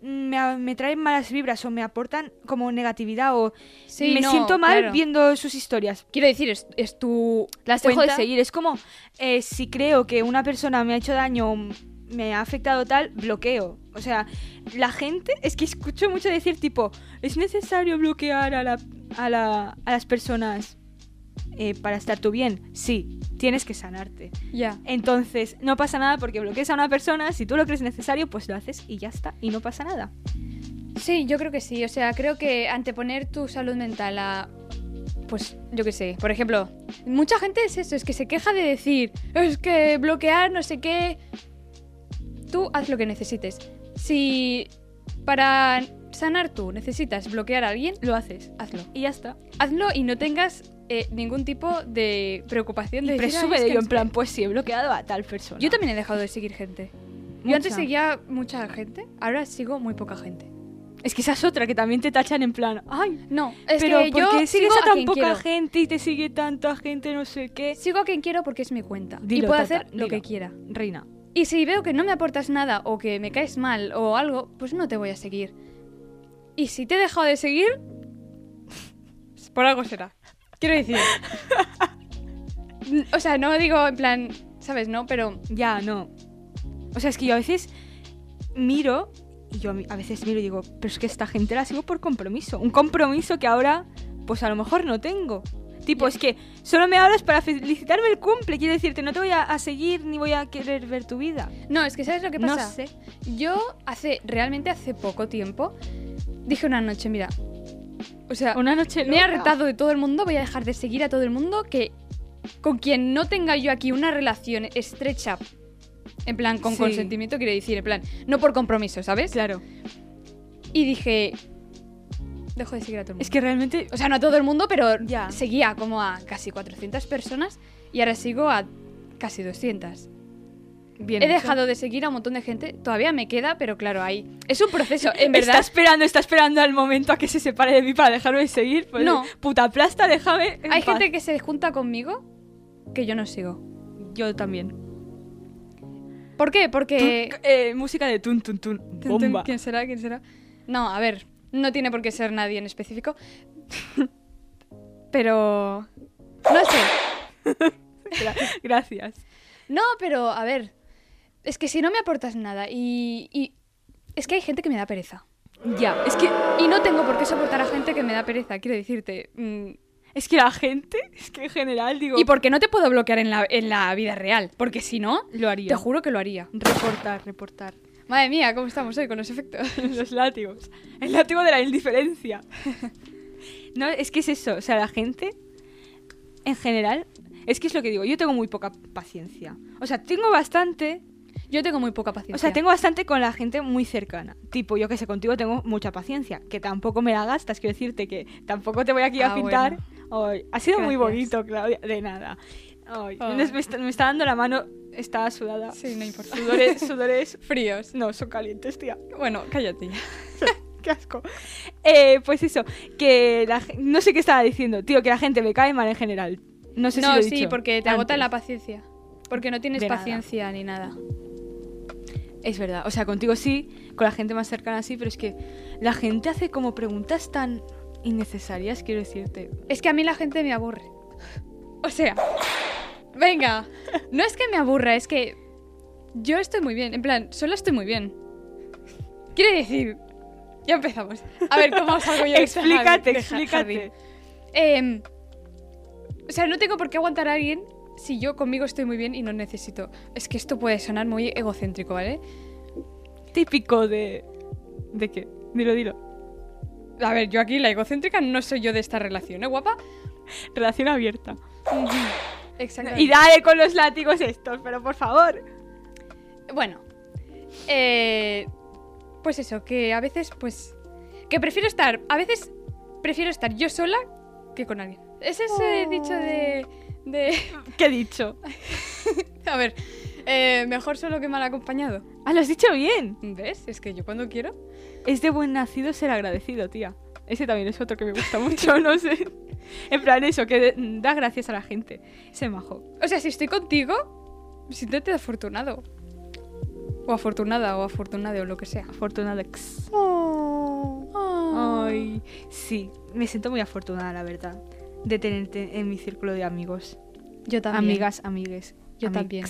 Speaker 4: me, a- me traen malas vibras o me aportan como negatividad o
Speaker 3: Sí,
Speaker 4: me
Speaker 3: no,
Speaker 4: siento mal
Speaker 3: claro.
Speaker 4: viendo sus historias.
Speaker 3: Quiero decir, es, es tu...
Speaker 4: Las dejo de
Speaker 3: cuenta.
Speaker 4: seguir. Es como, eh, si creo que una persona me ha hecho daño o me ha afectado tal, bloqueo. O sea, la gente, es que escucho mucho decir tipo, es necesario bloquear a, la, a, la- a las personas eh, para estar tú bien. Sí, tienes que sanarte.
Speaker 3: Ya.
Speaker 4: Entonces, no pasa nada porque bloquees a una persona, si tú lo crees necesario, pues lo haces y ya está, y no pasa nada.
Speaker 3: Sí, yo creo que sí. O sea, creo que anteponer tu salud mental a. Pues yo qué sé, por ejemplo, mucha gente es eso, es que se queja de decir, es que bloquear, no sé qué. Tú haz lo que necesites. Si para sanar tú necesitas bloquear a alguien,
Speaker 4: Lo haces.
Speaker 3: hazlo.
Speaker 4: Y ya está.
Speaker 3: Hazlo y no tengas eh, ningún tipo de preocupación
Speaker 4: Y
Speaker 3: de decir, "Ay,
Speaker 4: presume
Speaker 3: es
Speaker 4: de
Speaker 3: que
Speaker 4: ello,
Speaker 3: no
Speaker 4: en
Speaker 3: sé
Speaker 4: plan,
Speaker 3: qué".
Speaker 4: pues sí, he bloqueado a tal persona.
Speaker 3: Yo también he dejado de seguir gente. Yo
Speaker 4: Mucha.
Speaker 3: antes seguía mucha gente, ahora sigo muy poca gente.
Speaker 4: Es que esa es otra que también te tachan en plan, ay,
Speaker 3: No, es
Speaker 4: pero
Speaker 3: que
Speaker 4: ¿por
Speaker 3: yo sigo
Speaker 4: qué sigues a
Speaker 3: a
Speaker 4: tan
Speaker 3: quien
Speaker 4: poca
Speaker 3: quiero.
Speaker 4: gente y te sigue tanta gente, no sé qué?
Speaker 3: Sigo a quien quiero porque es mi cuenta.
Speaker 4: Dilo,
Speaker 3: y puedo
Speaker 4: Tata,
Speaker 3: hacer lo
Speaker 4: dilo.
Speaker 3: que quiera.
Speaker 4: Reina,
Speaker 3: Y si veo que no me aportas nada o que me caes mal o algo, pues no te voy a seguir. Y si te he dejado de seguir, por algo será. Quiero decir. mm, o sea, no digo en plan, ¿sabes? No, pero
Speaker 4: ya, no. O sea, es que yo a veces miro, y yo a mí- a veces miro y digo, pero es que esta gente la sigo por compromiso. Un compromiso que ahora, pues a lo mejor no tengo. Tipo,
Speaker 3: Ya.
Speaker 4: es que solo me hablas para felicitarme el cumple. Quiero decirte, no te voy a, a seguir ni voy a querer ver tu vida.
Speaker 3: no, es que ¿sabes lo que
Speaker 4: no
Speaker 3: pasa?
Speaker 4: sé.
Speaker 3: Yo hace, realmente hace poco tiempo, dije una noche, mira, o sea,
Speaker 4: Una
Speaker 3: *laughs*
Speaker 4: noche
Speaker 3: Me he
Speaker 4: loca.
Speaker 3: hartado de todo el mundo, voy a dejar de seguir a todo el mundo que con quien no tenga yo aquí una relación estrecha, en plan con
Speaker 4: Sí.
Speaker 3: consentimiento, quiero decir, en plan, no por compromiso, ¿sabes?
Speaker 4: Claro.
Speaker 3: Y dije, dejo de seguir a todo el mundo.
Speaker 4: Es que realmente
Speaker 3: O sea, no a todo el mundo, pero
Speaker 4: Ya.
Speaker 3: seguía como a casi 400 personas y ahora sigo a casi 200.
Speaker 4: Bien
Speaker 3: He
Speaker 4: hecho.
Speaker 3: dejado de seguir a un montón de gente, todavía me queda, pero claro, ahí es un proceso, en
Speaker 4: *laughs* Está
Speaker 3: verdad.
Speaker 4: esperando, está esperando al momento a que se separe de mí para dejarme de seguir. Pues,
Speaker 3: No.
Speaker 4: Puta plasta, déjame. en
Speaker 3: Hay
Speaker 4: paz.
Speaker 3: gente que se junta conmigo que yo no sigo.
Speaker 4: Yo también.
Speaker 3: ¿Por qué? Porque...
Speaker 4: Tun- eh, música de tun tun tun.
Speaker 3: Tun, tun,
Speaker 4: Bomba.
Speaker 3: ¿Quién será? ¿Quién será? No, a ver, no tiene por qué ser nadie en específico. pero. No sé.
Speaker 4: Gra- *laughs* Gracias.
Speaker 3: No, pero a ver. Es que si no me aportas nada y. y- es que hay gente que me da pereza.
Speaker 4: Ya, es que,
Speaker 3: Y no tengo por qué soportar a gente que me da pereza, quiero decirte. mm,
Speaker 4: es que la gente, es que en general digo...
Speaker 3: Y porque no te puedo bloquear en la, en la vida real, porque si no,
Speaker 4: Lo haría.
Speaker 3: te juro que lo haría.
Speaker 4: Reportar, reportar.
Speaker 3: Madre mía, ¿cómo estamos hoy con los efectos?
Speaker 4: *laughs* Los látigos. El látigo de la indiferencia. *laughs* No, es que es eso. O sea, la gente, en general, es que es lo que digo. Yo tengo muy poca paciencia. O sea, tengo bastante.
Speaker 3: Yo tengo muy poca paciencia.
Speaker 4: O sea, tengo bastante con la gente muy cercana. Tipo, yo que sé, contigo tengo mucha paciencia. Que tampoco me la gastas. Quiero decirte que tampoco te voy aquí a
Speaker 3: Ah,
Speaker 4: pintar. Ay, ha sido muy
Speaker 3: Gracias.
Speaker 4: bonito, Claudia. De nada. Ay,
Speaker 3: Ay.
Speaker 4: Me, está, me está dando la mano. Está sudada.
Speaker 3: Sí, no importa. *laughs*
Speaker 4: Sudores, sudores.
Speaker 3: Fríos.
Speaker 4: No, son calientes, tía.
Speaker 3: Bueno, cállate ya.
Speaker 4: Qué asco. Eh, pues eso, que la gen- no sé qué estaba diciendo, tío, que la gente me cae mal en general. No sé si
Speaker 3: No,
Speaker 4: lo he
Speaker 3: sí,
Speaker 4: dicho
Speaker 3: porque te
Speaker 4: antes.
Speaker 3: agota la paciencia. Porque no tienes
Speaker 4: De nada.
Speaker 3: paciencia ni nada.
Speaker 4: Es verdad, o sea, contigo sí, con la gente más cercana sí, pero es que la gente hace como preguntas tan innecesarias, quiero decirte.
Speaker 3: Es que a mí la gente me aburre. O sea, venga, no es que me aburra, es que yo estoy muy bien, en plan, solo estoy muy bien. Quiere decir, ya empezamos. A ver, ¿cómo salgo yo de este
Speaker 4: explícate,
Speaker 3: jardín- de ja-
Speaker 4: explícate.
Speaker 3: jardín? Em, o sea, no tengo por qué aguantar a alguien si yo conmigo estoy muy bien y no necesito. Es que esto puede sonar muy egocéntrico, ¿vale?
Speaker 4: Típico de... ¿De qué? Dilo, dilo.
Speaker 3: A ver, yo aquí la egocéntrica no soy yo de esta relación, ¿eh, guapa?
Speaker 4: Relación abierta.
Speaker 3: Exactamente.
Speaker 4: Y dale con los látigos estos, pero por favor.
Speaker 3: Bueno, eh, pues eso, que a veces, pues, que prefiero estar, a veces prefiero estar yo sola que con alguien. Es ese
Speaker 4: Oh.
Speaker 3: dicho de, de, *laughs*
Speaker 4: ¿Qué he dicho?
Speaker 3: a ver, eh, mejor solo que mal acompañado.
Speaker 4: Ah, lo has dicho bien.
Speaker 3: ¿Ves? Es que yo cuando quiero.
Speaker 4: Es de buen nacido ser agradecido, tía. Ese también es otro que me
Speaker 3: *laughs*
Speaker 4: gusta mucho, no sé. En plan, eso, que de- da gracias a la gente. Ese majo.
Speaker 3: O sea, si estoy contigo, siéntete afortunado. O afortunada, o afortunado, o lo que sea.
Speaker 4: Afortunada. ex.
Speaker 3: Ah.
Speaker 4: Oh. Ay, sí, me siento muy afortunada, la verdad, de tenerte en mi círculo de amigos.
Speaker 3: Yo también.
Speaker 4: Amigas, amigues.
Speaker 3: Yo
Speaker 4: amix.
Speaker 3: también.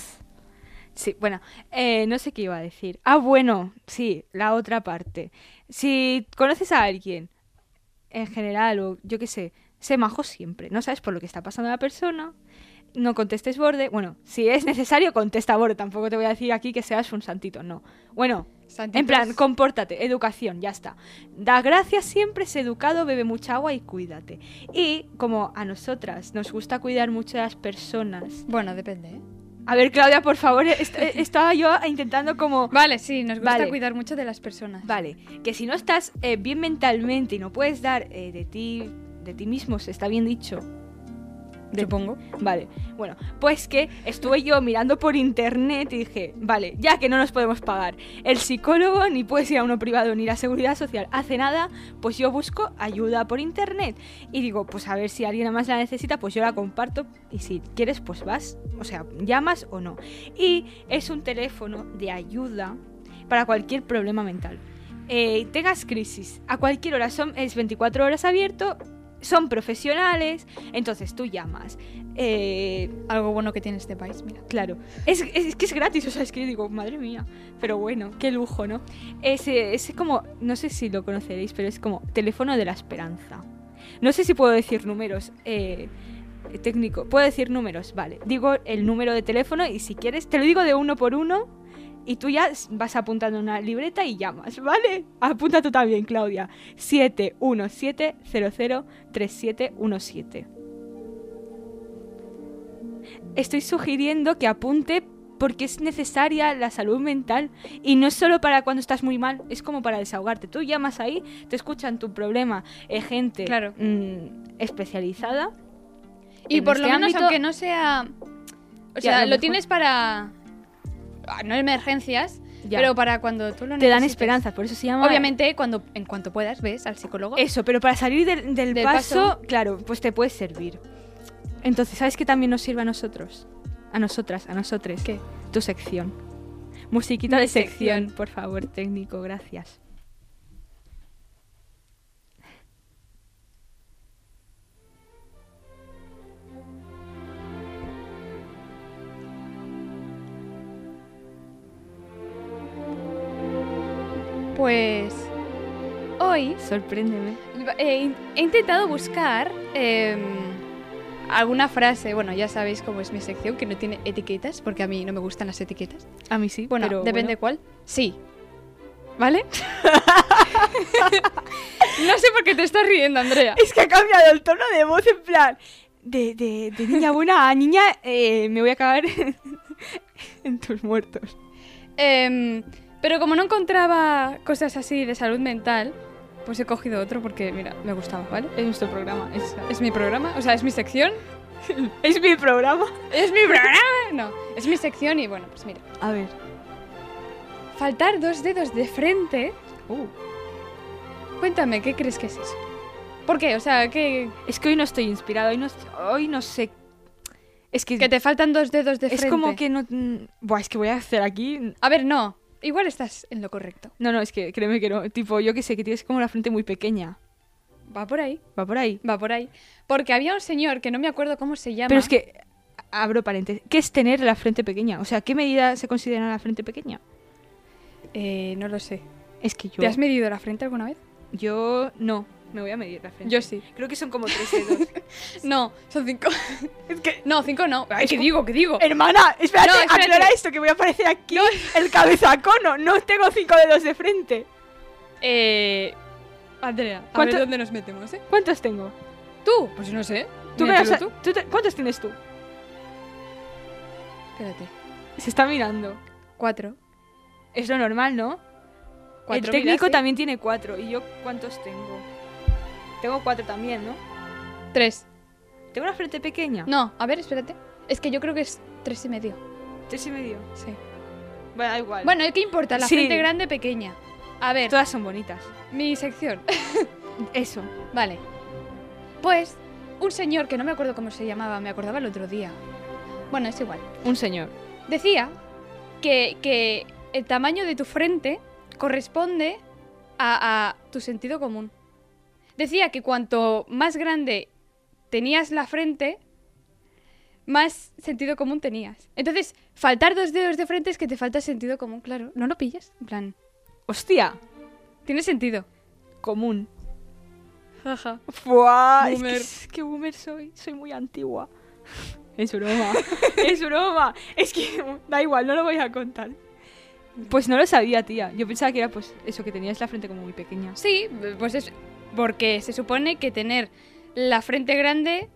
Speaker 4: Sí, bueno, eh, no sé qué iba a decir. Ah, bueno, sí, la otra parte. Si conoces a alguien, en general, o yo qué sé, sé majo siempre. No sabes por lo que está pasando la persona. No contestes borde. Bueno, si es necesario, contesta borde. Tampoco te voy a decir aquí que seas un santito, no. Bueno,
Speaker 3: Santitos.
Speaker 4: en plan, compórtate, educación, ya está. Da gracias siempre, sé educado, bebe mucha agua y cuídate. Y como a nosotras nos gusta cuidar mucho a las personas.
Speaker 3: Bueno, depende, ¿eh?
Speaker 4: A ver, Claudia, por favor, est- estaba yo intentando como...
Speaker 3: Vale, sí, nos gusta
Speaker 4: Vale.
Speaker 3: cuidar mucho de las personas.
Speaker 4: Vale, que si no estás eh, bien mentalmente y no puedes dar eh, de ti de ti mismo, se está bien dicho. De-
Speaker 3: Supongo.
Speaker 4: Vale, bueno, pues que estuve yo mirando por internet y dije, vale, ya que no nos podemos pagar el psicólogo, ni puedes ir a uno privado, ni la seguridad social hace nada, pues yo busco ayuda por internet. Y digo, pues a ver si alguien más la necesita, pues yo la comparto y si quieres, pues vas, o sea, llamas o no. Y es un teléfono de ayuda para cualquier problema mental. Eh, tengas crisis, a cualquier hora, son, es 24 horas abierto, son profesionales, entonces tú llamas. Eh,
Speaker 3: Algo bueno que tiene este país, mira.
Speaker 4: Claro. Es, es- es que es gratis, o sea, es que yo digo, madre mía. Pero bueno, qué lujo, ¿no? Es, eh, es como, no sé si lo conoceréis, pero es como teléfono de la esperanza. No sé si puedo decir números. eh, técnico. Puedo decir números, vale. Digo el número de teléfono y si quieres, te lo digo de uno por uno. Y tú ya s- vas apuntando en una libreta y llamas, ¿vale? Apunta tú también, Claudia. 717-003717. Estoy sugiriendo que apunte porque es necesaria la salud mental y no es solo para cuando estás muy mal, es como para desahogarte. Tú llamas ahí, te escuchan tu problema, eh, gente
Speaker 3: Claro.
Speaker 4: mm, especializada
Speaker 3: Y
Speaker 4: En
Speaker 3: por
Speaker 4: este
Speaker 3: lo menos,
Speaker 4: ámbito-
Speaker 3: aunque no sea. O
Speaker 4: Ya,
Speaker 3: sea,
Speaker 4: a lo
Speaker 3: lo,
Speaker 4: mejor-
Speaker 3: tienes para. ah, No emergencias,
Speaker 4: Ya.
Speaker 3: pero para cuando tú lo
Speaker 4: te dan
Speaker 3: necesites.
Speaker 4: esperanzas, por eso se llama.
Speaker 3: Obviamente, cuando, en cuanto puedas, ves al psicólogo.
Speaker 4: Eso, pero para salir del, del
Speaker 3: Del
Speaker 4: paso,
Speaker 3: paso.
Speaker 4: claro, pues te puede servir. Entonces, ¿sabes qué también nos sirve a nosotros? A nosotras, a nosotres.
Speaker 3: ¿Qué?
Speaker 4: Tu sección. Musiquita
Speaker 3: Mi
Speaker 4: de sección,
Speaker 3: sección.
Speaker 4: por favor, técnico, gracias.
Speaker 3: Pues. hoy
Speaker 4: Sorpréndeme.
Speaker 3: eh, in- he intentado buscar eh, alguna frase. Bueno, ya sabéis cómo es mi sección, que no tiene etiquetas, porque a mí no me gustan las etiquetas.
Speaker 4: A mí sí,
Speaker 3: Bueno,
Speaker 4: pero
Speaker 3: depende cuál.
Speaker 4: bueno.
Speaker 3: Sí. ¿Vale? *laughs* no sé por qué te estás riendo, Andrea.
Speaker 4: Es que ha cambiado el tono de voz en plan. De, de- de niña buena a niña, eh, me voy a cagar *laughs* en tus muertos.
Speaker 3: Em, pero como no encontraba cosas así de salud mental, pues he cogido otro porque, mira, me gustaba, ¿vale?
Speaker 4: Es nuestro programa. Es,
Speaker 3: Es mi programa, o sea, es mi sección.
Speaker 4: es mi programa.
Speaker 3: Es mi programa. No, es mi sección y bueno, pues mira.
Speaker 4: A ver.
Speaker 3: Faltar dos dedos de frente.
Speaker 4: Uh.
Speaker 3: Cuéntame, ¿qué crees que es eso? ¿Por qué? O sea, que,
Speaker 4: Es que hoy no estoy inspirado, hoy no, hoy no sé. Es que,
Speaker 3: que te faltan dos dedos de
Speaker 4: es
Speaker 3: frente.
Speaker 4: como que no. mm, Buah, es que voy a hacer aquí.
Speaker 3: A ver, no. Igual estás en lo correcto.
Speaker 4: No, no, es que créeme que no. Tipo, yo que sé, que tienes como la frente muy pequeña.
Speaker 3: Va por ahí,
Speaker 4: Va por ahí.
Speaker 3: va por ahí. Porque había un señor que no me acuerdo cómo se llama.
Speaker 4: Pero es que, abro paréntesis, ¿qué es tener la frente pequeña? O sea, ¿qué medida se considera la frente pequeña?
Speaker 3: Eh, no lo sé.
Speaker 4: Es que yo...
Speaker 3: ¿Te has medido la frente alguna vez?
Speaker 4: Yo no, me voy a medir la frente.
Speaker 3: Yo sí.
Speaker 4: Creo que son como tres dedos.
Speaker 3: No, son cinco.
Speaker 4: *laughs*
Speaker 3: *laughs*
Speaker 4: es que...
Speaker 3: No, cinco no.
Speaker 4: Ay,
Speaker 3: ¿Qué
Speaker 4: es-
Speaker 3: digo? ¿Qué digo?
Speaker 4: Hermana, espérate,
Speaker 3: Oh. No, espérate.
Speaker 4: aclara esto, que voy a aparecer aquí el cabezacono. No tengo cinco dedos de frente.
Speaker 3: Eh, Andrea, a
Speaker 4: ¿Cuánto-
Speaker 3: ver dónde nos metemos, ¿eh?
Speaker 4: ¿Cuántos tengo?
Speaker 3: Tú, pues no sé.
Speaker 4: Tú me
Speaker 3: Míratelo
Speaker 4: vas a-
Speaker 3: tú.
Speaker 4: tú te- ¿Cuántos tienes tú?
Speaker 3: Espérate.
Speaker 4: Se está mirando.
Speaker 3: Cuatro.
Speaker 4: Es lo normal, ¿no?
Speaker 3: Cuatro ¿eh?
Speaker 4: el técnico
Speaker 3: miraste.
Speaker 4: también tiene cuatro. ¿Y yo cuántos tengo? Tengo cuatro también, ¿no?
Speaker 3: Tres.
Speaker 4: Tengo una frente pequeña.
Speaker 3: No, a ver, espérate. Es que yo creo que es tres y medio.
Speaker 4: Tres y medio.
Speaker 3: Sí.
Speaker 4: Bueno, da igual.
Speaker 3: Bueno, ¿qué importa? La
Speaker 4: Sí.
Speaker 3: frente grande, pequeña. A ver,
Speaker 4: Todas son bonitas.
Speaker 3: mi sección. *laughs*
Speaker 4: Eso.
Speaker 3: vale. Pues, un señor que no me acuerdo cómo se llamaba, me acordaba el otro día. Bueno, es igual.
Speaker 4: Un señor.
Speaker 3: Decía que, que el tamaño de tu frente corresponde a, a tu sentido común. Decía que cuanto más grande tenías la frente, más sentido común tenías. Entonces, faltar dos dedos de frente es que te falta sentido común, claro. ¿No lo pillas? En plan,
Speaker 4: Hostia.
Speaker 3: tiene sentido.
Speaker 4: Común.
Speaker 3: Jaja.
Speaker 4: Buah, es que-
Speaker 3: Boomer.
Speaker 4: Es que, boomer soy. Soy muy antigua. *laughs* es *laughs* broma. es broma. Es que da igual, no lo voy a contar. Pues no lo sabía, tía. Yo pensaba que era pues eso, que tenías la frente como muy pequeña.
Speaker 3: Sí, pues es porque se supone que tener la frente grande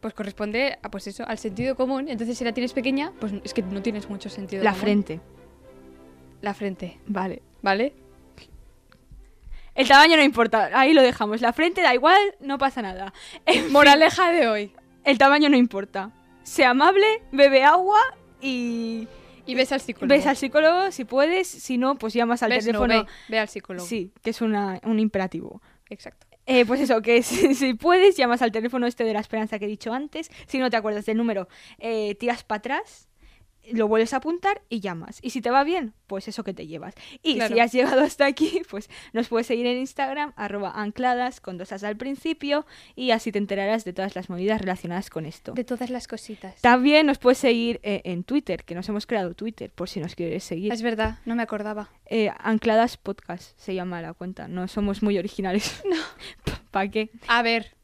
Speaker 3: pues corresponde a pues eso, al sentido común. Entonces, si la tienes pequeña, pues es que no tienes mucho sentido
Speaker 4: La
Speaker 3: común.
Speaker 4: frente.
Speaker 3: La frente,
Speaker 4: Vale.
Speaker 3: ¿vale?
Speaker 4: El tamaño no importa, ahí lo dejamos. La frente da igual, no pasa nada. En fin,
Speaker 3: Moraleja de hoy.
Speaker 4: el tamaño no importa. Sea amable, bebe agua y
Speaker 3: Y ves al psicólogo.
Speaker 4: ves al psicólogo si puedes, si no, pues llamas al
Speaker 3: Ves, no,
Speaker 4: teléfono.
Speaker 3: ve, ve al psicólogo.
Speaker 4: sí, que es una- un imperativo.
Speaker 3: Exacto.
Speaker 4: Eh, pues eso, que *laughs* si, si puedes, llamas al teléfono este de la esperanza que he dicho antes. Si no te acuerdas del número, eh, tiras para atrás, lo vuelves a apuntar y llamas. Y si te va bien, pues eso que te llevas. Y si
Speaker 3: Claro.
Speaker 4: has llegado hasta aquí, *laughs* pues nos puedes seguir en Instagram, arroba ancladas, con dos as al principio, y así te enterarás de todas las movidas relacionadas con esto.
Speaker 3: De todas las cositas.
Speaker 4: También nos puedes seguir eh, en Twitter, que nos hemos creado Twitter, por si nos quieres seguir.
Speaker 3: Es verdad, no me acordaba.
Speaker 4: Eh, ancladas Podcast se llama la cuenta. No somos muy originales. No. *laughs* ¿Para qué?
Speaker 3: A ver.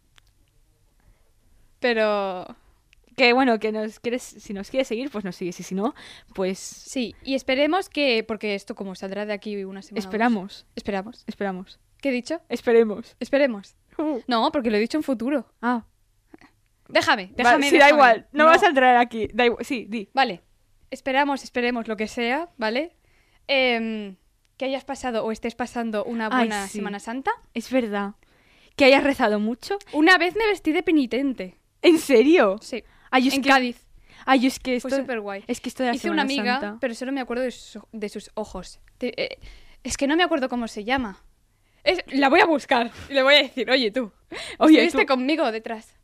Speaker 3: Pero
Speaker 4: Que bueno, que nos quieres, si nos quieres seguir, pues nos sigues. Y si no, pues
Speaker 3: sí, y esperemos que porque esto como saldrá de aquí una semana. o dos.
Speaker 4: esperamos.
Speaker 3: Esperamos.
Speaker 4: Esperamos.
Speaker 3: ¿Qué he dicho?
Speaker 4: Esperemos.
Speaker 3: Esperemos. No, porque lo he dicho en futuro.
Speaker 4: Ah,
Speaker 3: Déjame,
Speaker 4: déjame.
Speaker 3: déjame.
Speaker 4: sí, da
Speaker 3: déjame.
Speaker 4: igual. No, vas a entrar aquí. Da igual. Sí, di.
Speaker 3: Vale. Esperamos, esperemos lo que sea, ¿vale? Em, que hayas pasado o estés pasando una
Speaker 4: Ay,
Speaker 3: buena
Speaker 4: sí.
Speaker 3: Semana Santa.
Speaker 4: Es verdad. Que hayas rezado mucho.
Speaker 3: Una vez me vestí de penitente.
Speaker 4: ¿En serio?
Speaker 3: Sí.
Speaker 4: Ay, es
Speaker 3: en
Speaker 4: que,
Speaker 3: Cádiz.
Speaker 4: Ay, es que esto.
Speaker 3: Fue súper guay.
Speaker 4: Es que esto de la
Speaker 3: Hice una
Speaker 4: Semana
Speaker 3: amiga,
Speaker 4: Santa-
Speaker 3: pero solo me acuerdo de sus, de sus ojos. Te- eh, es que no me acuerdo cómo se llama. Es- la voy a buscar y le voy a decir, oye tú,
Speaker 4: Oye,
Speaker 3: estuviste
Speaker 4: tú.
Speaker 3: conmigo detrás.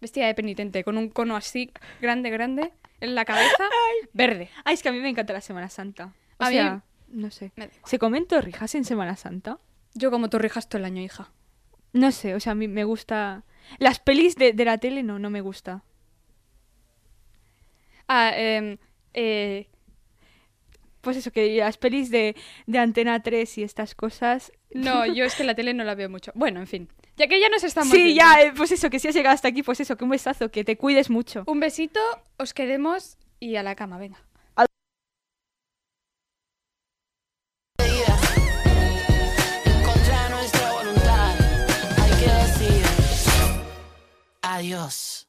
Speaker 3: Vestida de penitente, con un cono así grande, grande, en la cabeza, verde.
Speaker 4: *laughs* Ay, es que a mí me encanta la Semana Santa. O
Speaker 3: A mí-
Speaker 4: sea, ¿Ah, no sé.
Speaker 3: Me da igual.
Speaker 4: ¿Se comen torrijas en Semana Santa?
Speaker 3: Yo como torrijas todo el año, hija.
Speaker 4: No sé, o sea, a mí me gusta. Las pelis de, de la tele no, no me gusta.
Speaker 3: Ah, em, eh,
Speaker 4: pues eso, que las pelis de, de Antena 3 y estas cosas.
Speaker 3: No, yo es que la tele no la veo mucho. Bueno, en fin. Ya que ya nos estamos.
Speaker 4: sí,
Speaker 3: yendo.
Speaker 4: ya, eh, pues eso, que si has llegado hasta aquí, pues eso, que un besazo, que te cuides mucho.
Speaker 3: Un besito, os queremos y a la cama, venga.
Speaker 5: Contra nuestra voluntad, hay que decir adiós.